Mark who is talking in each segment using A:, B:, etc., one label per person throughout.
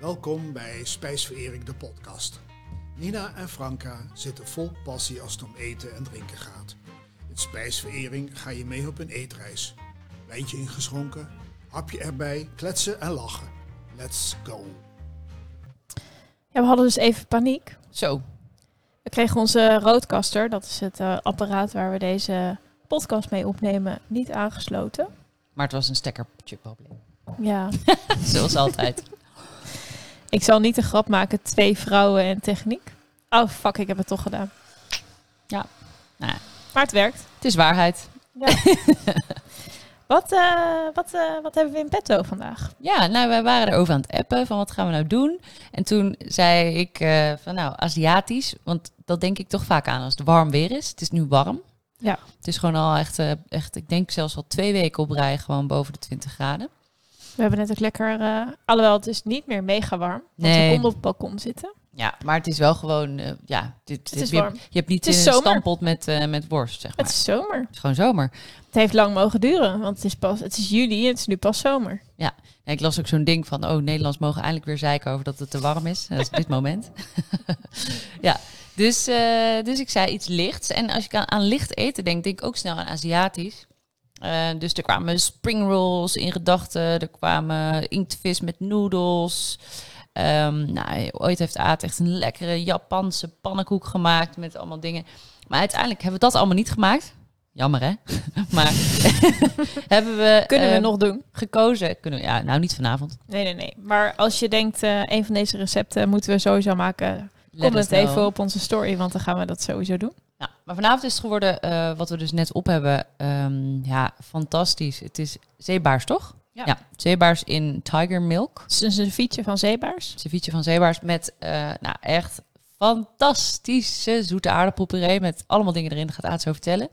A: Welkom bij Spijsverering de podcast. Nina en Franka zitten vol passie als het om eten en drinken gaat. In Spijsverering ga je mee op een eetreis. Wijntje ingeschonken, hapje erbij, kletsen en lachen. Let's go.
B: Ja, we hadden dus even paniek.
C: Zo.
B: We kregen onze roodkaster, dat is het eh, apparaat waar we deze podcast mee opnemen, niet aangesloten.
C: Maar het was een stekkertje probleem.
B: Ja,
C: Zoals altijd.
B: ik zal niet de grap maken, twee vrouwen en techniek. Oh fuck, ik heb het toch gedaan.
C: Ja. Nou ja.
B: Maar het werkt.
C: het is waarheid.
B: Wat, eh, wat, eh, wat hebben we in petto vandaag?
C: Ja, nou, wij waren erover aan het appen van wat gaan we nou doen. En toen zei ik eh, van nou, Aziatisch. Want dat denk ik toch vaak aan als het warm weer is. Het is nu warm.
B: Ja.
C: Het is gewoon al echt, eh, echt ik denk zelfs al twee weken op rij gewoon boven de 20 graden.
B: We hebben net ook lekker, eh, alhoewel het is niet meer mega warm, want we
C: Nee.
B: konden op het balkon zitten.
C: Ja, maar het is wel gewoon, eh, ja. Dit, dit-
B: is
C: je,
B: warm.
C: je hebt niet
B: Het is
C: in een
B: zomer.
C: stampot met, eh, met worst, zeg maar.
B: Het is zomer.
C: het is gewoon zomer.
B: Het heeft lang mogen duren, want het is, pas, het is juli en het is nu pas zomer.
C: Ja, ik las ook zo'n ding van, oh, Nederlands mogen eindelijk weer zeiken over dat het te warm is. Dat is dit moment. ja, dus, eh, dus ik zei iets lichts. En als ik aan, aan licht eten denk, denk ik ook snel aan Aziatisch. Eh, dus er kwamen springrolls in gedachten, er kwamen inktvis met noedels. Ehm, nou, ooit heeft Aad echt een lekkere Japanse pannenkoek gemaakt met allemaal dingen. Maar uiteindelijk hebben we dat allemaal niet gemaakt. Jammer hè? maar hebben we...
B: Kunnen we
C: ehm,
B: nog doen?
C: gekozen. Kunnen, we- ja, nou niet vanavond.
B: Nee, nee, nee. Maar als je denkt, eh, een van deze recepten moeten we sowieso maken.
C: Let
B: Kom
C: us
B: het
C: know.
B: even op onze story, want dan gaan we dat sowieso doen.
C: Ja, maar vanavond is het geworden, eh, wat we dus net op hebben, ehm, ja, fantastisch. Het is zeebaars, toch?
B: Ja.
C: zeebaars in tiger milk.
B: Het is een ceviche van zeebaars.
C: Ceviche van zeebaars met, eh, nou echt fantastische zoete aardappelpuree met allemaal dingen erin. Dat gaat Aad zo vertellen.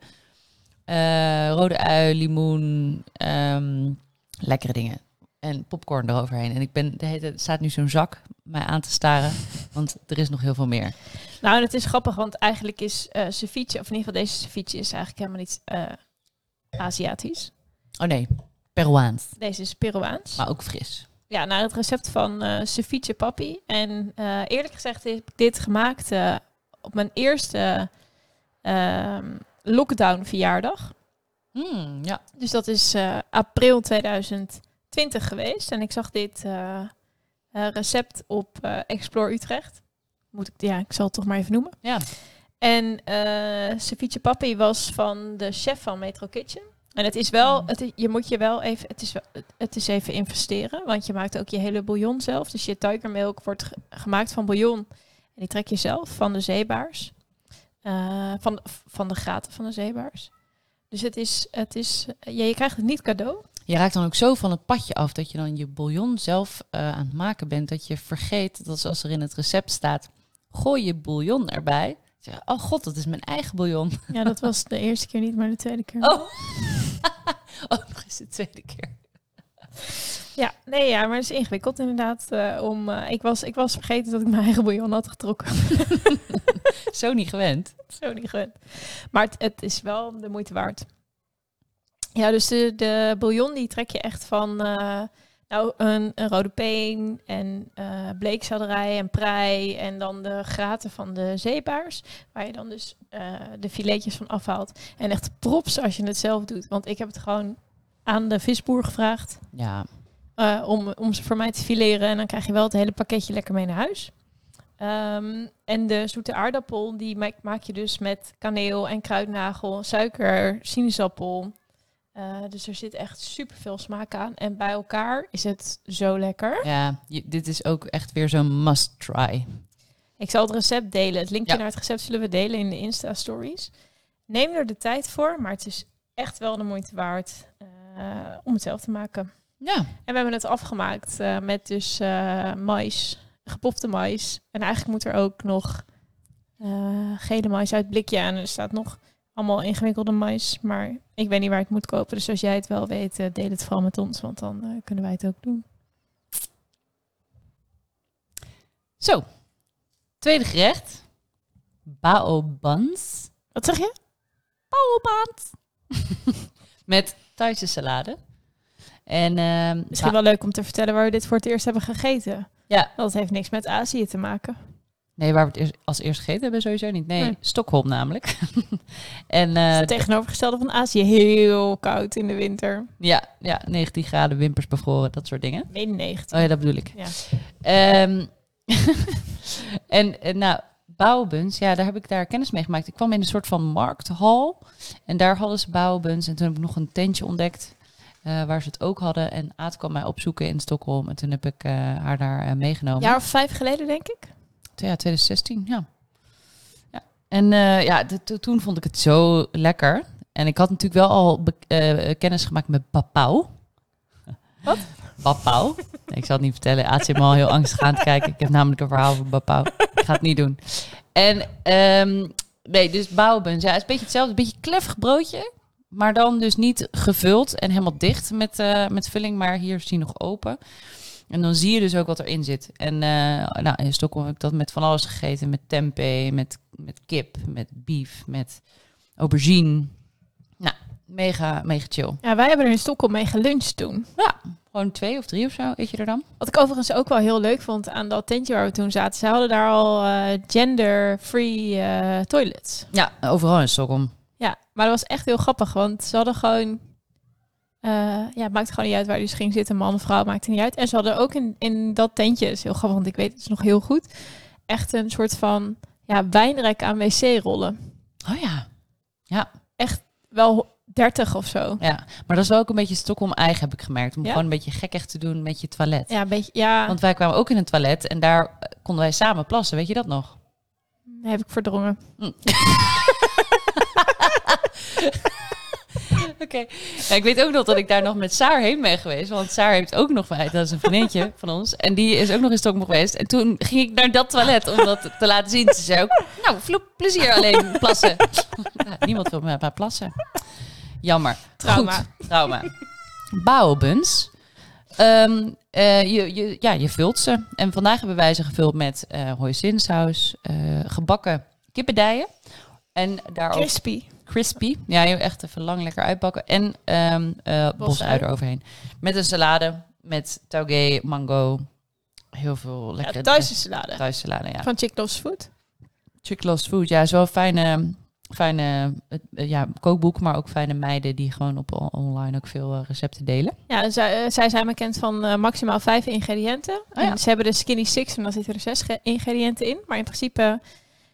C: Eh, rode ui, limoen, ehm, lekkere dingen. En popcorn eroverheen. En ik ben, de hele tijd staat nu zo'n zak mij aan te staren, want er is nog heel veel meer.
B: Nou, en het is grappig, want eigenlijk is eh ceviche, of in ieder geval deze ceviche, is eigenlijk helemaal niet eh, Aziatisch.
C: Oh nee, Peruaans.
B: Deze is Peruaans.
C: Maar ook fris.
B: Ja, naar het recept van eh ceviche papi. En eh, eerlijk gezegd heb ik dit gemaakt eh, op mijn eerste ehm, lockdown verjaardag.
C: Hmm, ja.
B: Dus dat is eh, april 2020 geweest. En ik zag dit eh, eh, recept op eh, Explore Utrecht. Moet ik, ja, ik zal het toch maar even noemen.
C: ja.
B: En eh ceviche papi was van de chef van Metro Kitchen. En het is wel,
C: Mm.
B: het is- je moet je wel even, het is, wel- het- het is even investeren. Want je maakt ook je hele bouillon zelf. Dus je tuikermelk wordt ge- gemaakt van bouillon. En die trek je zelf van de zeebaars. Eh, van, van de gaten van de zeebaars. Dus het is, het is ja, je krijgt het niet cadeau.
C: Je raakt dan ook zo van het padje af dat je dan je bouillon zelf eh, aan het maken bent. Dat je vergeet dat zoals er in het recept staat, gooi je bouillon erbij. Zeg, je, oh god, dat is mijn eigen bouillon.
B: Ja, dat was de eerste keer niet, maar de tweede keer.
C: Oh, ook nog eens de tweede keer.
B: Ja, nee, ja, maar het is ingewikkeld inderdaad. eh, om, eh, ik, was, ik was vergeten dat ik mijn eigen bouillon had getrokken.
C: Zo niet gewend.
B: Zo niet gewend. Maar het, het is wel de moeite waard. Ja, dus de, de bouillon die trek je echt van eh, nou, een, een rode peen en eh bleekselderij en prei. En dan de graten van de zeebaars. Waar je dan dus eh, de filetjes van afhaalt. En echt props als je het zelf doet. Want ik heb het gewoon aan de visboer gevraagd.
C: Ja,
B: eh, om, om ze voor mij te fileren. En dan krijg je wel het hele pakketje lekker mee naar huis. Ehm, en de zoete aardappel, die ma- maak je dus met kaneel en kruidnagel, suiker, sinaasappel. Eh, dus er zit echt super veel smaak aan. En bij elkaar is het zo lekker.
C: ja je- dit is ook echt weer zo'n must try.
B: Ik zal het recept delen. Het linkje
C: Ja.
B: naar het recept zullen we delen in de Insta-stories. Neem er de tijd voor, maar het is echt wel de moeite waard eh, om het zelf te maken.
C: Ja,
B: En we hebben het afgemaakt eh, met dus eh mais, gepopte mais. En eigenlijk moet er ook nog eh, gele mais uit blikje aan. Er staat nog allemaal ingewikkelde mais, maar ik weet niet waar ik het moet kopen. Dus als jij het wel weet, eh, deel het vooral met ons, want dan eh, kunnen wij het ook doen.
C: zo. Tweede gerecht. Baobans.
B: Wat zeg je?
C: pauwelbaand. Met Thaise salade. En ehm,
B: Misschien
C: ba-
B: wel leuk om te vertellen waar we dit voor het eerst hebben gegeten.
C: Ja.
B: Dat heeft niks met Azië te maken.
C: Nee, waar we het eerst- als eerst gegeten hebben, sowieso niet. Nee,
B: Nee.
C: Stockholm namelijk. en eh,
B: Het is het tegenovergestelde van Azië. Heel koud in de winter.
C: ja, ja, 19 graden, wimpers bevroren, dat soort dingen.
B: 91.
C: Oh ja, dat bedoel ik.
B: Ja.
C: Ehm, en eh, nou, bouwbuns, ja, daar heb ik daar kennis mee gemaakt. Ik kwam in een soort van markthal en daar hadden ze bouwbuns. En toen heb ik nog een tentje ontdekt eh, waar ze het ook hadden. En Aad kwam mij opzoeken in Stockholm en toen heb ik eh, haar daar eh, meegenomen.
B: Een jaar of vijf geleden, denk ik.
C: Ja, 2016, ja. ja. En eh, ja, de- to- toen vond ik het zo lekker. En ik had natuurlijk wel al be- eh, kennis gemaakt met papau.
B: Wat?
C: Papau. Nee, ik zal het niet vertellen. Aad zit me al heel angstig aan te kijken. Ik heb namelijk een verhaal van papau. Ik ga het niet doen. En ehm, nee, dus bouwbuns. Ja, het is een beetje hetzelfde. Een beetje kleffig broodje. Maar dan dus niet gevuld en helemaal dicht met, eh, met vulling. Maar hier is die nog open. En dan zie je dus ook wat erin zit. En eh, nou, in Stockholm heb ik dat met van alles gegeten. Met tempeh, met, met kip, met beef, met aubergine. Nou, mega, mega chill.
B: Ja, wij hebben er in Stockholm mee geluncht toen.
C: Gewoon twee of drie of zo, eet je er dan?
B: Wat ik overigens ook wel heel leuk vond aan dat tentje waar we toen zaten. Ze hadden daar al eh, gender-free eh, toilets.
C: Ja, overal in Stockholm.
B: Ja, maar dat was echt heel grappig. Want ze hadden gewoon... eh, ja, het maakte gewoon niet uit waar je dus ging zitten. Man of vrouw, maakte niet uit. En ze hadden ook in, in dat tentje, dat is heel grappig, want ik weet het nog heel goed. Echt een soort van ja, wijnrek aan wc-rollen.
C: Oh ja.
B: Wel 30 of zo.
C: ja. Maar dat is wel ook een beetje Stockholm eigen, heb ik gemerkt. Om
B: Ja?
C: gewoon een beetje gekkig te doen met je toilet.
B: Ja, een beetje, ja
C: Want wij kwamen ook in een toilet en daar eh, konden wij samen plassen. Weet je dat nog?
B: heb ik verdrongen.
C: Oké. Ja, ik weet ook nog dat ik daar nog met Saar heen ben geweest. Want Saar heeft ook nog... Dat is een vriendinnetje van ons. En die is ook nog in Stockholm geweest. En toen ging ik naar dat toilet om dat te laten zien. Ze zei ook, nou, vloep, plezier alleen, plassen. Nou, niemand wil met mij plassen. Jammer.
B: Trauma.
C: Goed, trauma. Bouwbuns. Ehm, eh, je, je, ja, je vult ze. En vandaag hebben wij ze gevuld met eh hoisinsaus, eh, gebakken kippendijen. En daar ook
B: Crispy.
C: crispy. Ja, je moet echt even lang lekker uitbakken. En ehm eh bosui eroverheen. Met een salade, met tauge, mango. Heel veel
B: Ja,
C: lekkere
B: thuis salade.
C: thuissalade, ja.
B: Van Chick Loves Food.
C: Chiclos Food, ja, is wel een fijne, fijne eh, ja, kookboek, maar ook fijne meiden die gewoon op on- online ook veel eh, recepten delen.
B: Ja, zij, eh, zij zijn bekend van eh, maximaal vijf ingrediënten.
C: Oh ja.
B: en ze hebben de Skinny Six en dan zitten er zes ge- ingrediënten in. Maar in principe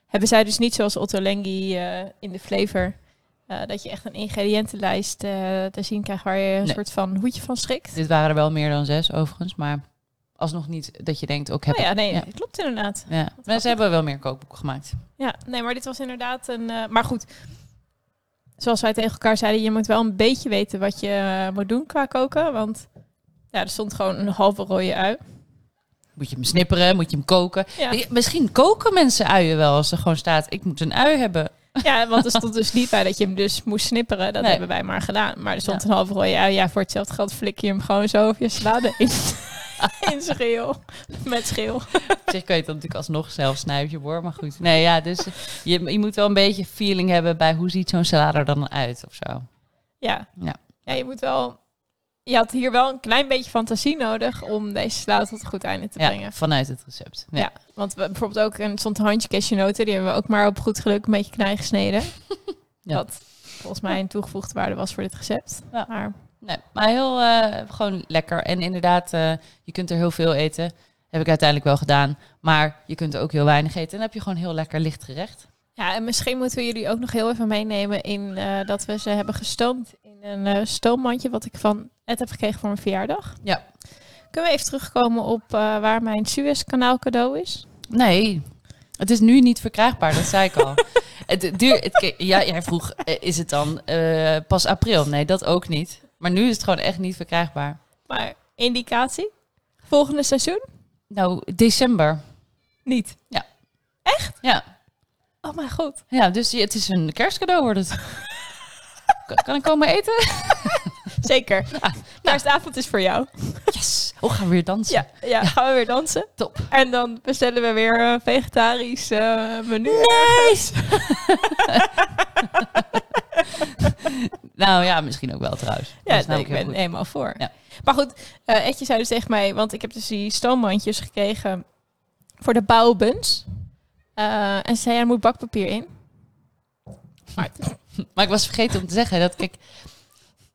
B: hebben zij dus niet zoals Otto Lengi eh, in de flavor... eh, dat je echt een ingrediëntenlijst eh, te zien krijgt waar je een
C: Nee.
B: soort van hoedje van schrikt.
C: Dit waren er wel meer dan zes overigens, maar alsnog niet dat je denkt, ook heb
B: Oh
C: ik.
B: ja, nee,
C: Ja.
B: dat klopt inderdaad.
C: Ja. Maar
B: grappig.
C: ze hebben wel meer kookboeken gemaakt.
B: Ja, nee, maar dit was inderdaad een... eh, maar goed, zoals wij tegen elkaar zeiden... je moet wel een beetje weten wat je eh, moet doen qua koken. Want ja, er stond gewoon een halve rode ui.
C: Moet je hem snipperen, moet je hem koken.
B: Ja.
C: Eh, Misschien koken mensen uien wel als er gewoon staat, ik moet een ui hebben.
B: Ja, want er stond dus niet bij dat je hem dus moest snipperen. Dat
C: Nee.
B: hebben wij maar gedaan. Maar er stond een halve rode ui. Ja, voor hetzelfde geld flik je hem gewoon zo over je salade in. in schil. Met schil.
C: Op zich kan je het dan natuurlijk alsnog zelf snuiven hoor, maar goed. Nee, ja, dus je, je moet wel een beetje feeling hebben bij hoe ziet zo'n salade er dan uit of zo.
B: Ja.
C: Ja.
B: ja, je moet wel... Je had hier wel een klein beetje fantasie nodig om deze salade tot een goed einde te
C: Ja,
B: brengen.
C: vanuit het recept. Ja.
B: Ja, want we, bijvoorbeeld ook een, er stond een handje cashewnoten. Die hebben we ook maar op goed geluk een beetje knij gesneden.
C: Ja.
B: Wat volgens mij een toegevoegde waarde was voor dit recept.
C: Ja.
B: Maar
C: Nee, maar heel eh, gewoon lekker. En inderdaad, eh, je kunt er heel veel eten. Heb ik uiteindelijk wel gedaan. Maar je kunt er ook heel weinig eten. En dan heb je gewoon heel lekker licht gerecht.
B: Ja, en misschien moeten we jullie ook nog heel even meenemen in eh, dat we ze hebben gestoomd in een eh, stoommandje wat ik van Ed heb gekregen voor mijn verjaardag.
C: Ja.
B: Kunnen we even terugkomen op eh, waar mijn Suezkanaal cadeau is?
C: Nee, het is nu niet verkrijgbaar, dat zei ik al. het duur, het, ke- ja, jij vroeg, eh, is het dan eh, pas april? Nee, dat ook niet. Maar nu is het gewoon echt niet verkrijgbaar.
B: Maar indicatie? Volgende seizoen?
C: Nou, december.
B: Niet.
C: Ja,
B: Oh mijn god.
C: ja dus je- het is een kerstcadeau wordt het. Kan- kan ik komen eten?
B: Zeker. Ah, Kerstavond is voor jou.
C: Yes! Oh, gaan we weer dansen.
B: Ja, ja, gaan we weer dansen.
C: Top.
B: En dan bestellen we weer een vegetarisch eh, menu. Nee!
C: Nou ja, misschien ook wel trouwens.
B: Ja,
C: Dat snap
B: nee, ik
C: heel
B: ben
C: goed.
B: helemaal voor.
C: Ja.
B: Maar goed, eh, Etje zei dus tegen mij, want ik heb dus die stoommandjes gekregen voor de bouwbuns. Eh, en ze zei, ja, er moet bakpapier in.
C: Maar ik was vergeten om te zeggen dat kijk.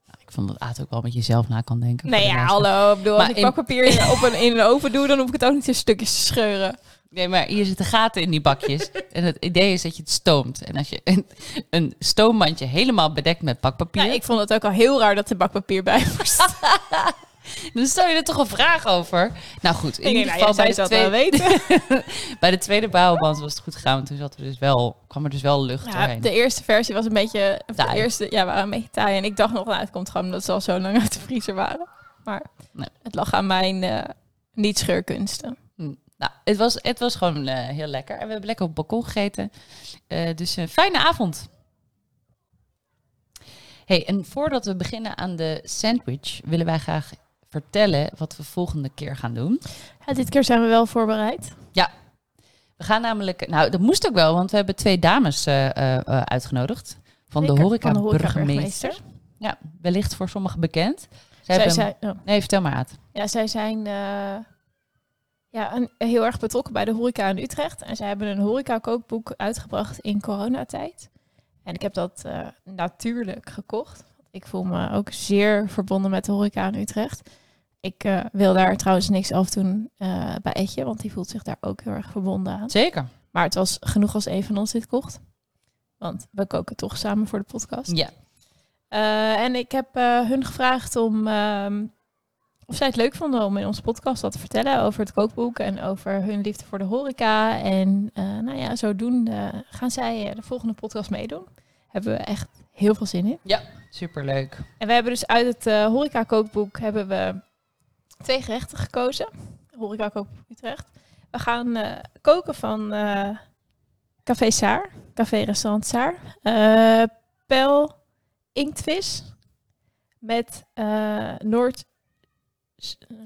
C: Nou, ik vond dat Aad ook wel met jezelf na kan denken.
B: Nee,
C: voor
B: ja,
C: de luisteraar.
B: hallo. Ik bedoel,
C: Maar
B: als ik
C: in-
B: bakpapier in, op een, in een oven doe, dan hoef ik het ook niet in stukjes te scheuren.
C: Nee, maar hier zitten gaten in die bakjes. en het idee is dat je het stoomt. En als je een, een stoommandje helemaal bedekt met bakpapier.
B: Ja, Nou, ik vond het ook al heel raar dat er bakpapier bij moest.
C: Dan stel je er toch een vraag over. Nou goed, in
B: ik denk,
C: ieder
B: nou,
C: geval
B: jij
C: bij
B: zou
C: de,
B: dat wel
C: tweede,
B: weten.
C: bij de tweede bouwband was het goed gegaan. Want toen zat er dus wel, kwam er dus wel lucht
B: Ja,
C: doorheen.
B: de eerste versie was een beetje... of De
C: Taai.
B: eerste, ja, waren een beetje taai. En ik dacht nog, nou, het komt gewoon omdat ze al zo lang uit de vriezer waren. Maar
C: Nee.
B: het lag aan mijn eh, niet-scheurkunsten.
C: Hm. Nou, het was, het was gewoon eh, heel lekker. En we hebben lekker op het balkon gegeten. Eh, dus een fijne avond. Hey, en voordat we beginnen aan de sandwich, willen wij graag vertellen wat we volgende keer gaan doen.
B: Ja, dit keer zijn we wel voorbereid.
C: We gaan namelijk, nou dat moest ook wel, want we hebben twee dames eh, eh, eh, uitgenodigd van de
B: Zeker,
C: horeca
B: van de
C: burgemeester. Ja, wellicht voor sommigen bekend. Zij
B: Zij,
C: hebben-
B: zijn, oh.
C: Nee, vertel maar Aad.
B: ja, zij zijn eh, ja, een- heel erg betrokken bij de horeca in Utrecht. En zij hebben een horeca-kookboek uitgebracht in coronatijd. En ik heb dat eh, natuurlijk gekocht. Ik voel me ook zeer verbonden met de horeca in Utrecht. Ik eh, wil daar trouwens niks afdoen eh bij Etje, want die voelt zich daar ook heel erg verbonden aan.
C: Zeker.
B: Maar het was genoeg als een van ons dit kocht. Want we koken toch samen voor de podcast.
C: Ja.
B: Eh, en ik heb eh, hun gevraagd om ehm, of zij het leuk vonden om in onze podcast wat te vertellen over het kookboek en over hun liefde voor de horeca. En eh, nou ja, zodoende gaan zij eh, de volgende podcast meedoen. Hebben we echt heel veel zin in.
C: Superleuk.
B: En we hebben dus uit het eh, horeca-kookboek hebben we twee gerechten gekozen. Horeca-kookboek Utrecht. We gaan eh, koken van eh, Café Saar, café-restaurant Saar. Eh Pel inktvis met eh, Noord...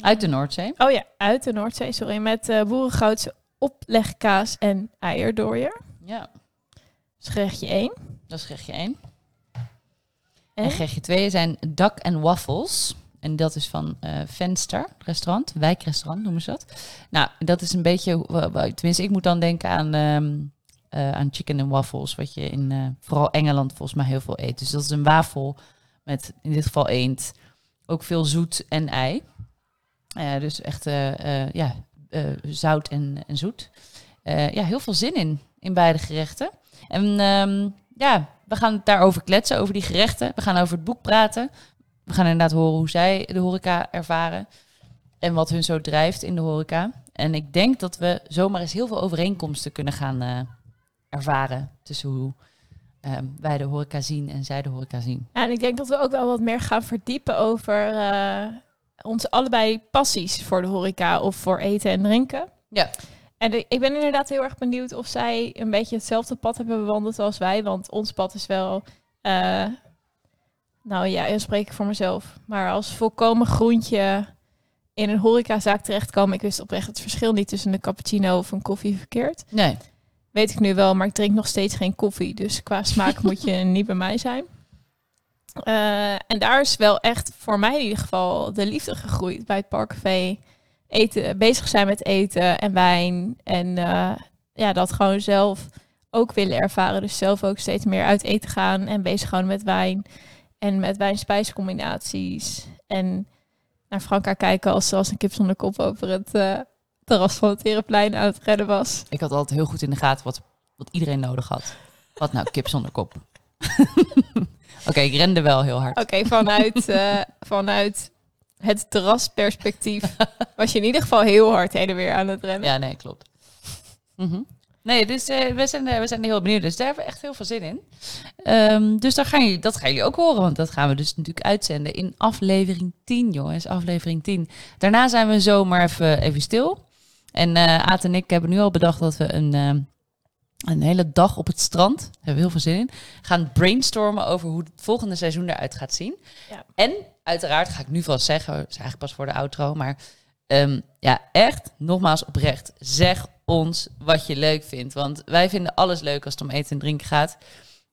C: Uit de Noordzee.
B: Oh ja, uit de Noordzee, sorry. Met eh boerengoudse oplegkaas en eierdooier.
C: Ja,
B: Dat is gerechtje 1.
C: dat is gerechtje 1.
B: En?
C: En gerechtje 2 zijn duck en waffles. En dat is van eh, Venster restaurant, wijkrestaurant noemen ze dat. Nou, dat is een beetje, hoe- wa- wa- tenminste ik moet dan denken aan, ehm, eh, aan chicken en waffles, wat je in eh, vooral Engeland volgens mij heel veel eet. Dus dat is een wafel met in dit geval eend, ook veel zoet en ei. Eh, dus echt eh, eh, ja, eh, zout en, en zoet. Eh, ja, heel veel zin in, in beide gerechten. En ehm, ja, we gaan het daarover kletsen, over die gerechten. We gaan over het boek praten. We gaan inderdaad horen hoe zij de horeca ervaren. En wat hun zo drijft in de horeca. En ik denk dat we zomaar eens heel veel overeenkomsten kunnen gaan eh, ervaren. Tussen hoe ehm, wij de horeca zien en zij de horeca zien.
B: Ja, en ik denk dat we ook wel wat meer gaan verdiepen over eh, onze allebei passies voor de horeca of voor eten en drinken.
C: Ja.
B: En ik ik ben inderdaad heel erg benieuwd of zij een beetje hetzelfde pad hebben bewandeld als wij. Want ons pad is wel, eh, nou ja, dan spreek ik voor mezelf. Maar als volkomen groentje in een horecazaak terechtkomen. Ik wist oprecht het verschil niet tussen een cappuccino of een koffie verkeerd.
C: Nee.
B: Weet ik nu wel, maar ik drink nog steeds geen koffie. Dus qua smaak moet je niet bij mij zijn. Eh, en daar is wel echt voor mij in ieder geval de liefde gegroeid bij het parkcafé. Eten, bezig zijn met eten en wijn. En eh, ja, dat gewoon zelf ook willen ervaren. Dus zelf ook steeds meer uit eten gaan en bezig houden met wijn. En met wijn-spijscombinaties. En naar Franka kijken als ze als een kip zonder kop over het eh, terras van het Herenplein aan het redden was.
C: Ik had altijd heel goed in de gaten wat, wat iedereen nodig had. Wat nou, kip zonder kop. Oké, ik rende wel heel hard.
B: Oké, vanuit, eh, vanuit het terrasperspectief was je in ieder geval heel hard heen en weer aan het rennen.
C: Ja, nee, klopt. Mhm. Nee, dus eh, we, zijn, eh, we zijn heel benieuwd. Dus daar hebben we echt heel veel zin in. Ehm, dus daar gaan jullie, dat gaan jullie ook horen. Want dat gaan we dus natuurlijk uitzenden in aflevering 10, jongens. Aflevering 10. Daarna zijn we zomaar even, even stil. En eh Aad en ik hebben nu al bedacht dat we een, ehm, een hele dag op het strand, daar hebben we heel veel zin in, gaan brainstormen over hoe het volgende seizoen eruit gaat zien.
B: Ja.
C: En uiteraard ga ik nu vast zeggen, dat is eigenlijk pas voor de outro, maar Ehm, ja, echt, nogmaals oprecht, zeg ons wat je leuk vindt. Want wij vinden alles leuk als het om eten en drinken gaat.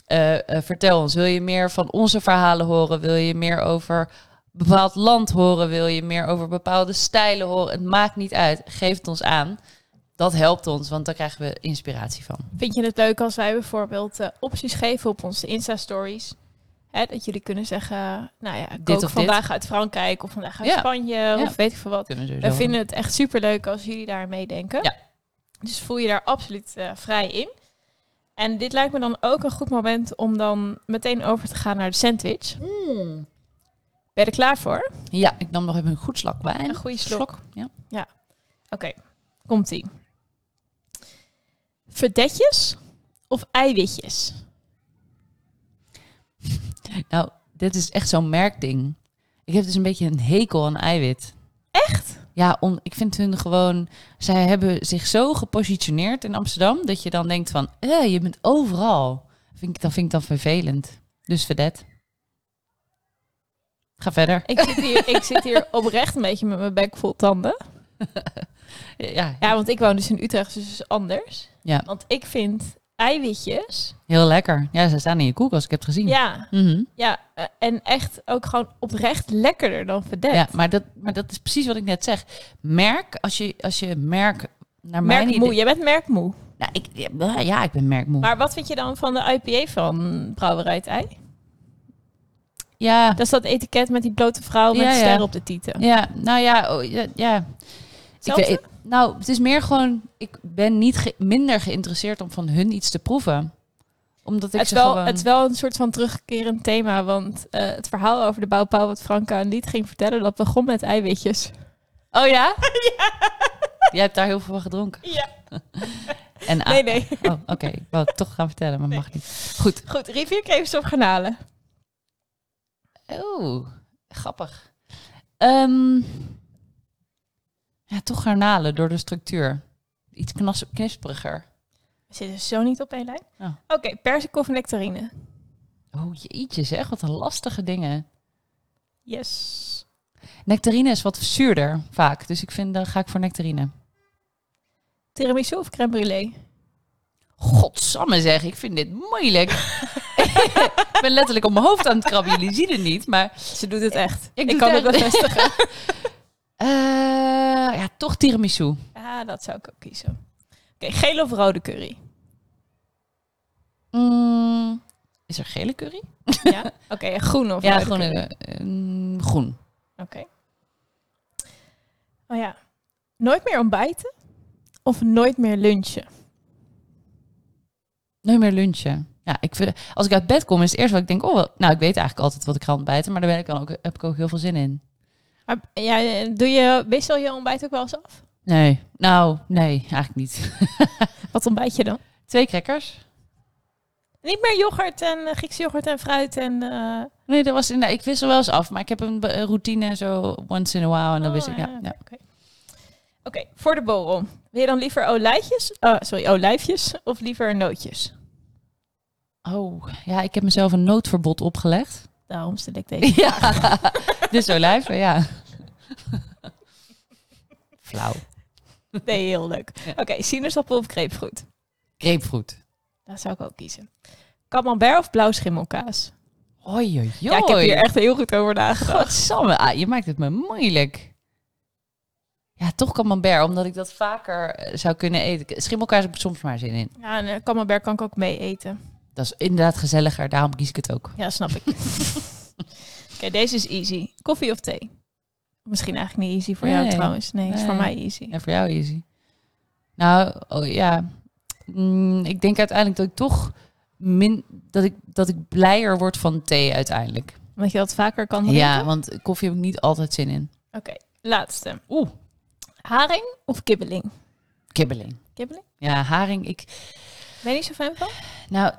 C: eh, eh, vertel ons, wil je meer van onze verhalen horen? Wil je meer over bepaald land horen? Wil je meer over bepaalde stijlen horen? Het maakt niet uit. Geef het ons aan. Dat helpt ons, want daar krijgen we inspiratie van.
B: Vind je het leuk als wij bijvoorbeeld eh, opties geven op onze Insta-stories? Hè, dat jullie kunnen zeggen, nou ja,
C: Dit
B: kook
C: of
B: vandaag uit Frankrijk of vandaag uit
C: Ja.
B: Spanje of weet ik veel wat.
C: Dat kunnen we
B: We
C: sowieso
B: vinden het echt superleuk als jullie daar meedenken.
C: Ja.
B: Dus voel je daar absoluut eh, vrij in. En dit lijkt me dan ook een goed moment om dan meteen over te gaan naar de sandwich.
C: doen.
B: Ben je er klaar voor?
C: Ja, ik nam nog even een goed slok wijn.
B: Een goede slok.
C: Ja.
B: Oké, komt-ie. Verdetjes of eiwitjes?
C: Nou, dit is echt zo'n merkding. Ik heb dus een beetje een hekel aan eiwit.
B: Echt?
C: Ja, om, ik vind hun gewoon... Zij hebben zich zo gepositioneerd in Amsterdam... dat je dan denkt van... eh, je bent overal. Vind ik, dat vind ik dan vervelend. Dus verdet. Ga verder.
B: Ik zit, hier, ik zit hier oprecht een beetje met mijn bek vol tanden.
C: Ja,
B: Ja, want ik woon dus in Utrecht, dus het is anders.
C: Ja.
B: Want ik vind eiwitjes...
C: heel lekker. Ja, ze staan in je koelkast. Ik heb het gezien.
B: Ja,
C: Mhm.
B: ja, eh, en echt ook gewoon oprecht lekkerder dan verdet.
C: Ja, maar dat, maar dat is precies wat ik net zeg. Merk, als je, als je merk... Naar mijn
B: merkmoe,
C: idee,
B: jij bent merkmoe.
C: nou, ik, ja, ik ben merkmoe.
B: Maar wat vind je dan van de IPA van Brouwerij het Ei?
C: ja.
B: Dat is dat etiket met die blote vrouw met
C: Ja, ja.
B: ster op de tieten.
C: Ja, nou ja, oh, ja. ja. Ik
B: Hetzelfde?
C: weet- nou, het is meer gewoon, ik ben niet ge- minder geïnteresseerd om van hun iets te proeven. Omdat ik
B: Het is,
C: ze
B: wel,
C: gewoon...
B: het is wel een soort van terugkerend thema, want eh, het verhaal over de bouwpaal wat Franka een lied ging vertellen, dat begon met eiwitjes.
C: Oh ja? Jij hebt daar heel veel van gedronken.
B: Ja.
C: En
B: Nee, nee.
C: Oh, oké. Ik wou het toch gaan vertellen, maar mag niet. Goed.
B: Goed, rivierkreefst of garnalen?
C: Oh, grappig. Ehm, ja, toch garnalen door de structuur. Iets knas- knisperiger.
B: We zitten zo niet op één lijn.
C: Ja.
B: Oké, perzik of nectarine?
C: Oh, jeetje zeg. Wat een lastige dingen.
B: Yes.
C: Nectarine is wat zuurder vaak. Dus ik vind, dan ga ik voor nectarine.
B: Tiramisu of crème brûlée?
C: Godsamme zeg, ik vind dit moeilijk. ik ben letterlijk op mijn hoofd aan het krabben. Jullie zien het niet, maar...
B: Ze doet het echt. Ik,
C: doe
B: kan
C: het
B: het
C: echt.
B: bevestigen.
C: Eh, ja, toch tiramisu.
B: ah, dat zou ik ook kiezen. Oké, gele of rode curry?
C: Mm, is er gele curry?
B: Ja? Oké, en groen of
C: ja,
B: rode
C: groene.
B: curry?
C: eh, groen.
B: Oké. Oh ja. Nooit meer ontbijten of nooit meer lunchen?
C: Nooit meer lunchen. Ja, ik vind, als ik uit bed kom, is het eerst wat ik denk... Oh, wel- nou, ik weet eigenlijk altijd wat ik ga ontbijten. Maar daar ben ik dan ook, heb ik ook heel veel zin in.
B: Maar, ja, doe je, wissel je ontbijt ook wel eens af?
C: Nee. Nou, nee, eigenlijk niet.
B: Wat ontbijt je dan?
C: Twee crackers.
B: Niet meer yoghurt en eh, Griekse yoghurt en fruit en... eh,
C: Nee, dat was inderdaad. Ik wissel wel eens af, maar ik heb een be- een routine zo once in a while en dan
B: Oh,
C: wist ik. Ja,
B: oké,
C: ja.
B: oké. Oké, voor de borrel. Wil je dan liever olijfjes, eh, sorry, olijfjes of liever nootjes?
C: Oh, ja, ik heb mezelf een noodverbod opgelegd.
B: Daarom stel ik deze.
C: Ja. dus olijven, ja. Flauw.
B: Nee, heel leuk.
C: Ja.
B: Oké, sinaasappel of grapefruit?
C: Grapefruit.
B: Dat zou ik ook kiezen. Camembert of blauwschimmelkaas?
C: Oei, oei,
B: Ja, ik heb hier echt heel goed over nagedacht.
C: Godsamme, ah, je maakt het me moeilijk. Ja, toch camembert, omdat ik dat vaker eh, zou kunnen eten. Schimmelkaas heb ik soms maar zin in.
B: Ja, en eh, camembert kan ik ook mee eten.
C: Dat is inderdaad gezelliger, daarom kies ik het ook.
B: Ja, snap ik. Oké, deze is easy. Koffie of thee? Misschien eigenlijk niet easy voor jou
C: Nee.
B: trouwens. Nee, is voor
C: Nee.
B: mij easy.
C: En voor jou, Easy? Nou, oh, ja. Mm, ik denk uiteindelijk dat ik toch min, dat, ik, dat ik blijer word van thee uiteindelijk.
B: Omdat je dat vaker kan drinken?
C: Ja, want koffie heb ik niet altijd zin in.
B: Oké, laatste.
C: Oeh,
B: Haring of kibbeling?
C: kibbeling.
B: Kibbeling?
C: Ja, haring. Ik,
B: Ben je niet zo fan van?
C: nou,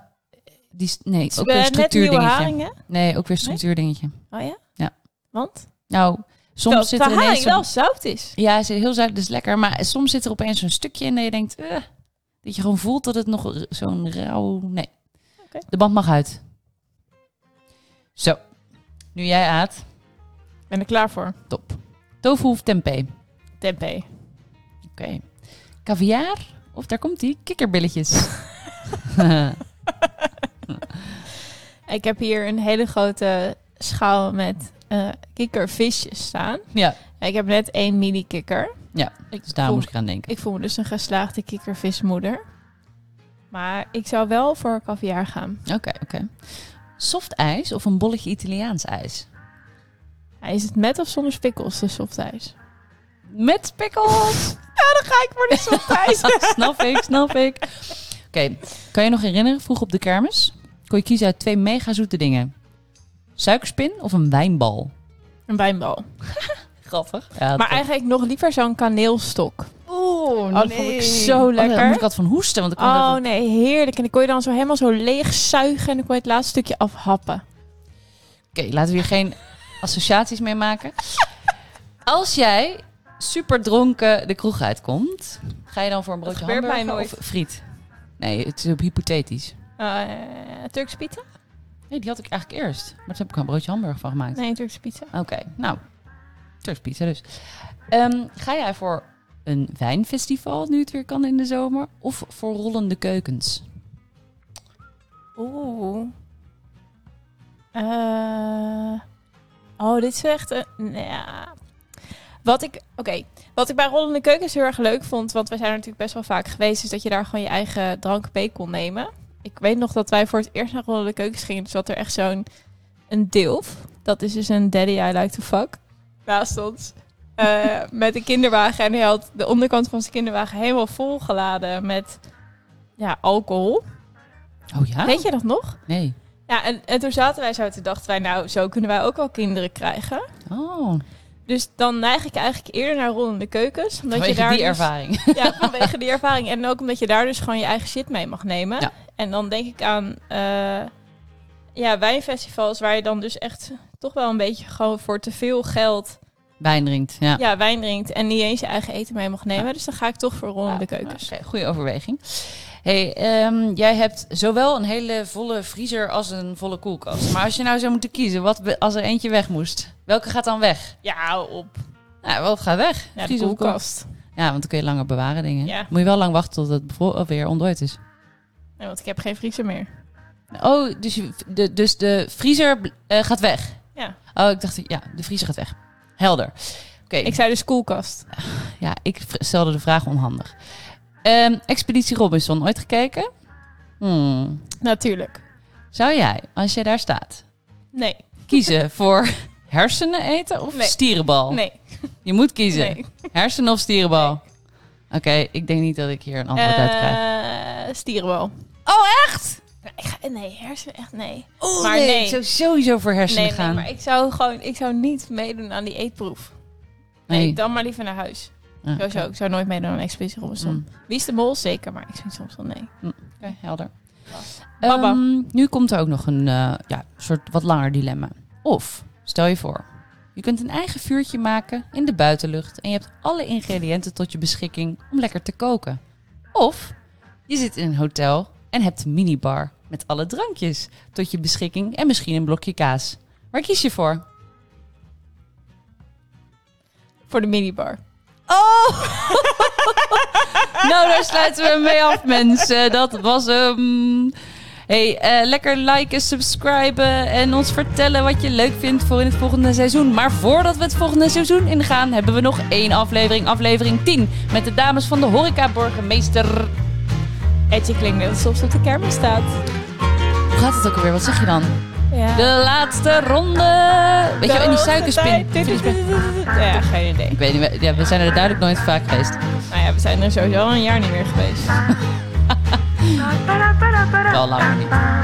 C: die, s- nee, ook
B: Eh,
C: weer
B: net nieuwe
C: structuurdingetje.
B: haringen.
C: Nee, ook weer structuurdingetje.
B: Oh ja?
C: Ja.
B: Want?
C: Nou,
B: Terwijl
C: soms zit er
B: de haring
C: ineens... zo'n-
B: wel zout is.
C: Ja, ze heel zuid, dus lekker. Maar soms zit er opeens zo'n stukje in dat je denkt... eh, dat je gewoon voelt dat het nog r- zo'n rauw... Nee,
B: Oké.
C: de band mag uit. Zo, nu jij aat.
B: Ben er klaar voor.
C: Top. Tofu of tempeh? Oké.
B: Tempeh.
C: Caviar? Of daar komt die kikkerbilletjes.
B: Ik heb hier een hele grote schaal met eh, kikkervisjes staan.
C: Ja,
B: Ik heb net één mini kikker.
C: Ja,
B: ik
C: dus daar
B: voel,
C: moest ik aan denken.
B: ik voel me dus een geslaagde kikkervismoeder. Maar ik zou wel voor caviar gaan.
C: Oké, oké. Soft ijs of een bolletje Italiaans ijs?
B: Hij Is het met of zonder spikkels, de softijs?
C: Met pickles!
B: Ja, dan ga ik voor de softijs.
C: snap ik, snap ik. Oké, kan je nog herinneren, vroeg op de kermis kon je kiezen uit twee mega zoete dingen. Suikerspin of een wijnbal?
B: een wijnbal.
C: Grappig. Ja, dat-
B: Maar eigenlijk nog liever zo'n kaneelstok.
C: Oeh,
B: Oh, dat vond ik zo
C: Oh, daar
B: lekker.
C: moet ik wat van hoesten, want ik kon
B: Oh
C: dat-
B: nee, heerlijk. En dan kon je dan zo helemaal zo leeg zuigen en dan kon je het laatste stukje afhappen.
C: Oké, laten we hier geen associaties mee maken. Als jij super dronken de kroeg uitkomt, ga je dan voor een broodje
B: gebeurt mij
C: hamburger
B: nooit.
C: of friet? Nee, het is op hypothetisch.
B: Eh Turkse pizza?
C: Nee, die had ik eigenlijk eerst. Maar daar heb ik een broodje hamburger van gemaakt.
B: Nee, Turkse pizza.
C: Oké, nou. Turks pizza dus. Ehm, ga jij voor een wijnfestival, nu het weer kan in de zomer? Of voor rollende keukens?
B: Oeh. Eh, oh, dit is echt. een- nou ja. Wat ik, oké, wat ik bij Rollende Keukens dus heel erg leuk vond, want wij zijn er natuurlijk best wel vaak geweest, is dat je daar gewoon je eigen drank mee kon nemen. Ik weet nog dat wij voor het eerst naar Rollende Keukens gingen, dus zat er echt zo'n een dilf. Dat is dus een daddy I like to fuck. Naast ons. Eh, met een kinderwagen. En hij had de onderkant van zijn kinderwagen helemaal volgeladen met ja, alcohol.
C: Oh ja?
B: Weet je dat nog?
C: Nee.
B: Ja, en, en toen zaten wij zo, toen dachten wij, nou, zo kunnen wij ook wel kinderen krijgen.
C: Oh,
B: Dus dan neig ik eigenlijk eerder naar rollende keukens. Omdat
C: vanwege
B: je daar
C: die
B: dus-
C: ervaring.
B: Ja, vanwege die ervaring. En ook omdat je daar dus gewoon je eigen shit mee mag nemen.
C: Ja.
B: En dan denk ik aan eh, ja, wijnfestivals waar je dan dus echt toch wel een beetje gewoon voor te veel geld
C: Wijn drinkt, ja.
B: ja. wijn drinkt. En niet eens je eigen eten mee mag nemen. Dus dan ga ik toch voor rollende
C: Ja,
B: keukens.
C: Oké, goede overweging. hey, ehm, jij hebt zowel een hele volle vriezer als een volle koelkast. Maar als je nou zou moeten kiezen, wat be- als er eentje weg moest? Welke gaat dan weg?
B: Ja, hou op.
C: Nou, wat gaat weg?
B: Ja, de
C: Vriezer of
B: koelkast.
C: Ja, want dan kun je langer bewaren dingen.
B: Ja.
C: Moet je wel lang wachten tot het bevro- of weer ontdooid is.
B: Nee, want ik heb geen vriezer meer.
C: Oh, dus, je, de, dus de vriezer bl- eh, gaat weg.
B: Ja.
C: Oh, ik dacht, ja, de vriezer gaat weg. Helder. Oké,
B: Ik zei dus koelkast.
C: ja, ik v- stelde de vraag onhandig. Ehm, Expeditie Robinson, ooit gekeken? Hmm.
B: Natuurlijk.
C: Zou jij, als jij daar staat,
B: Nee,
C: kiezen voor hersenen eten of
B: Nee.
C: stierenbal?
B: nee,
C: Je moet Oh, kiezen.
B: nee.
C: Hersenen of stierenbal? Oké, ik denk niet dat ik hier een antwoord uit krijg.
B: Eh, stierenbal.
C: Oh, echt?
B: Ik ga- Nee, hersen echt nee.
C: Oh,
B: Maar
C: nee.
B: nee.
C: Ik zou sowieso voor hersenen
B: Nee, nee,
C: gaan.
B: maar ik zou gewoon, ik zou niet meedoen aan die eetproef. Nee, dan maar liever naar huis.
C: Ah, oké.
B: Sowieso, ik zou nooit meedoen aan Expeditie Robinson.
C: Mm.
B: Wie is de mol? Zeker, maar ik vind soms wel nee.
C: Oké, helder.
B: Baba.
C: Ehm, nu komt er ook nog een eh, ja, soort wat langer dilemma. Of, stel je voor, je kunt een eigen vuurtje maken in de buitenlucht en je hebt alle ingrediënten tot je beschikking om lekker te koken. Of, je zit in een hotel en hebt een minibar met alle drankjes tot je beschikking en misschien een blokje kaas. Waar kies je voor?
B: Voor de minibar.
C: Oh! nou, daar sluiten we mee af, mensen. Dat was hem. Hey, eh, lekker liken, subscriben en ons vertellen wat je leuk vindt voor in het volgende seizoen. Maar voordat we het volgende seizoen ingaan, hebben we nog één aflevering, aflevering 10, met de dames van de Horeca Burgemeester.
B: Etje klinkt net alsof ze op de kermis staat.
C: Hoe gaat het ook alweer? Wat zeg je dan?
B: Ja.
C: De laatste ronde. Weet je, wel, in die suikerspin.
B: Ja, geen idee.
C: Ik weet niet, we- ja, we zijn er duidelijk nooit vaak geweest.
B: Nou ja, we zijn er sowieso al een jaar niet meer geweest.
C: Wel langer niet.